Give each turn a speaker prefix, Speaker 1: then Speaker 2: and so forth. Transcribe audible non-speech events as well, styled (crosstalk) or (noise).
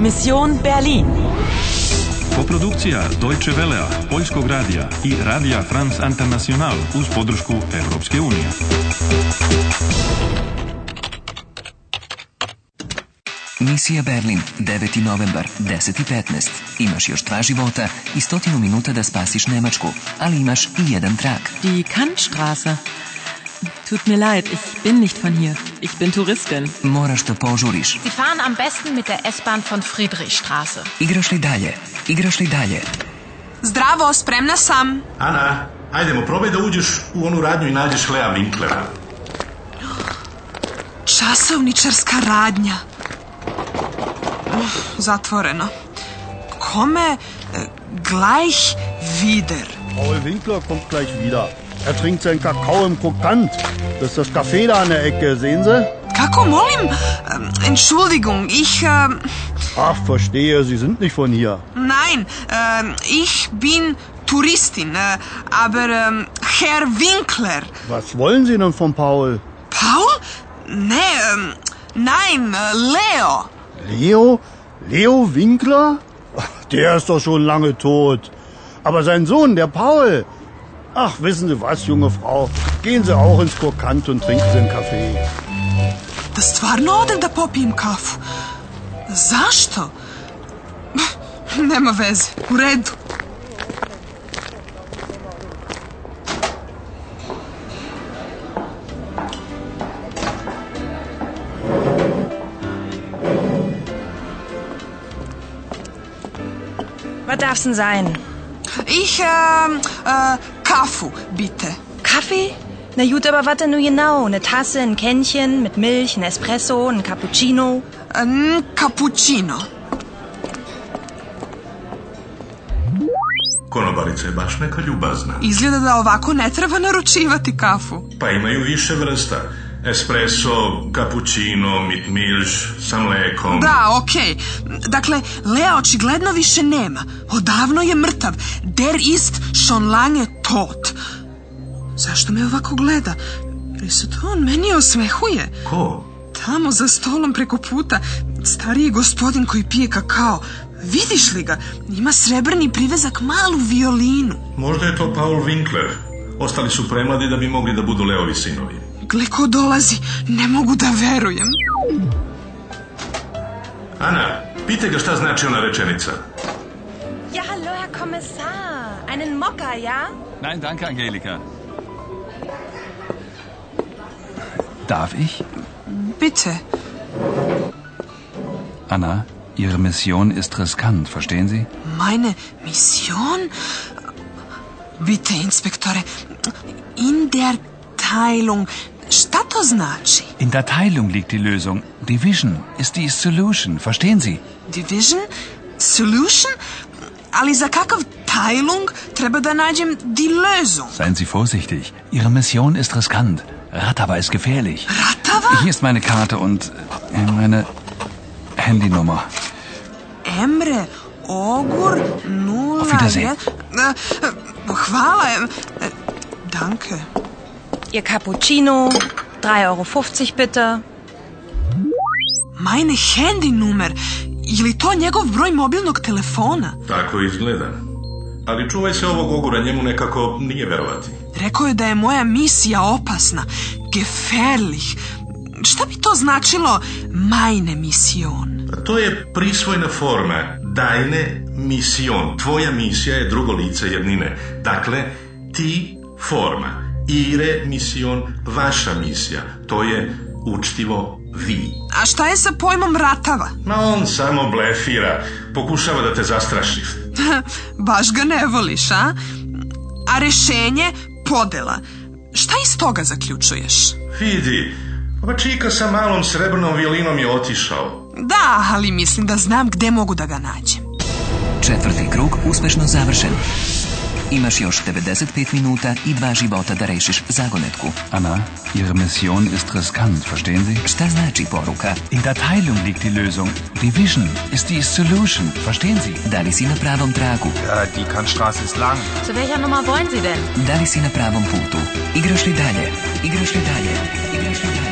Speaker 1: Mission Berlin.
Speaker 2: Koprodukcija Deutsche Velea, Poljskog radija i Radija France International uz podršku Europske unije.
Speaker 3: Misija Berlin, 9. novembar, 10.15. Imaš još dva života i stotinu minuta da spasiš Nemačku, ali imaš i jedan trag.
Speaker 4: Die Kantstraße. Tut mir leid, ich bin nicht von hier. Ich bin Touristin.
Speaker 3: Moraš da požuriš.
Speaker 5: Sie fahren am besten mit der S-Bahn von Friedrichstraße.
Speaker 3: Igraš li dalje? Igraš li dalje?
Speaker 6: Zdravo, spremna sam.
Speaker 7: Ana, ajdemo, probaj da uđeš u onu radnju i nađeš Lea Winklera.
Speaker 6: Časovničarska radnja. Uf, Zatvoreno. Kome? E, Gleich wieder.
Speaker 8: Paul Winkler kommt gleich wieder. Er trinkt seinen Kakao im Krokant. Das ist das Café da an der Ecke, sehen Sie?
Speaker 6: Kako, molim? Ähm, Entschuldigung, ich... ähm,
Speaker 8: Ach, verstehe, Sie sind nicht von hier.
Speaker 6: nein, ähm, ich bin Touristin, äh, aber ähm, Herr Winkler.
Speaker 8: Was wollen Sie denn von Paul?
Speaker 6: Paul? Nee, ähm, nein, äh, Leo.
Speaker 8: Leo? Leo Winkler? Ach, Der ist doch schon lange tot. Aber sein Sohn, der Paul. Ach, wissen Sie was, junge Frau? Gehen Sie auch ins Krokant und trinken Sie einen Kaffee.
Speaker 6: Da stvarno odem da popijem kafu. Zašto? Nema veze, u redu.
Speaker 9: Was darf's denn sein?
Speaker 6: Ich, ähm, äh, kafu, bitte.
Speaker 9: Kaffee? Na gut, aber was denn nun genau? Eine Tasse, ein Kännchen mit Milch, ein Espresso, ein Cappuccino?
Speaker 6: Ähm, Cappuccino.
Speaker 7: Konobarica je baš neka ljubazna.
Speaker 6: Izgleda da ovako ne treba naručivati kafu.
Speaker 7: Pa imaju više vrsta. Espresso, cappuccino, mit milš, sa mlekom.
Speaker 6: Da, okej. Dakle, Lea očigledno više nema. Odavno je mrtav. Der ist schon lange tot. Zašto me ovako gleda? Ili se to on meni osmehuje?
Speaker 7: Ko?
Speaker 6: Tamo za stolom preko puta, stariji gospodin koji pije kakao. Vidiš li ga? Ima srebrni privezak malu violinu.
Speaker 7: Možda je to Paul Winkler. Ostali su premladi da bi mogli da budu Leovi sinovi.
Speaker 6: Gle ko dolazi, ne mogu da verujem.
Speaker 7: Ana, pite ga šta znači ona rečenica.
Speaker 9: Ja, hallo, Herr Kommissar. Einen Mokka, ja?
Speaker 10: Nein, danke, Angelika.
Speaker 3: Darf ich?
Speaker 6: Bitte.
Speaker 3: Anna, Ihre Mission ist riskant, verstehen Sie?
Speaker 6: Meine Mission? Bitte, inspektore, in der Teilung, šta to znači?
Speaker 3: In der Teilung liegt die Lösung. Division ist die Solution, verstehen Sie?
Speaker 6: Division? Solution? Ali za kakav Teilung treba da nađem die Lösung?
Speaker 3: Seien Sie vorsichtig. Ihre Mission ist riskant. Ratava ist gefährlich.
Speaker 6: Ratava?
Speaker 3: Hier ist meine Karte und äh, meine Handynummer.
Speaker 6: Emre, Ogur, Nula...
Speaker 3: Auf Wiedersehen.
Speaker 6: je- E, e, Hvala, e, e, danke.
Speaker 9: Ihr Cappuccino, 3,50 Euro bitte.
Speaker 6: Meine Handynumer, je li to njegov broj mobilnog telefona?
Speaker 7: Tako izgleda. Ali čuvaj se ovog ogura, njemu nekako nije verovati.
Speaker 6: Rekao je da je moja misija opasna. Gefährlich. Šta bi to značilo meine Mission?
Speaker 7: Pa To je prisvojna forma. Dajne mision. Tvoja misija je drugo lice jednine. Dakle, ti forma. Ire mision, vaša misija. To je učtivo vi.
Speaker 6: A šta je sa pojmom ratava? (laughs)
Speaker 7: Ma on samo blefira. Pokušava da te zastraši.
Speaker 6: Baš ga ne voliš, a? A rešenje podela. Šta iz toga zaključuješ?
Speaker 7: Vidi, ova čika sa malom srebrnom violinom je otišao.
Speaker 6: Da, ali mislim da znam gde mogu da ga nađem.
Speaker 3: Četvrti krug uspešno završen. Imaš još 95 minuta i dva života da rešiš zagonetku. Ana, Ihre Mission ist riskant, verstehen Sie? Šta znači poruka? In der Teilung liegt die Lösung. Division ist die Solution, verstehen Sie? Da li si na pravom tragu?
Speaker 10: die Kantstraße ist lang.
Speaker 5: Zu welcher Nummer wollen Sie denn?
Speaker 3: Da li si na pravom putu? Igraš li dalje? Igraš li dalje? Igraš li dalje?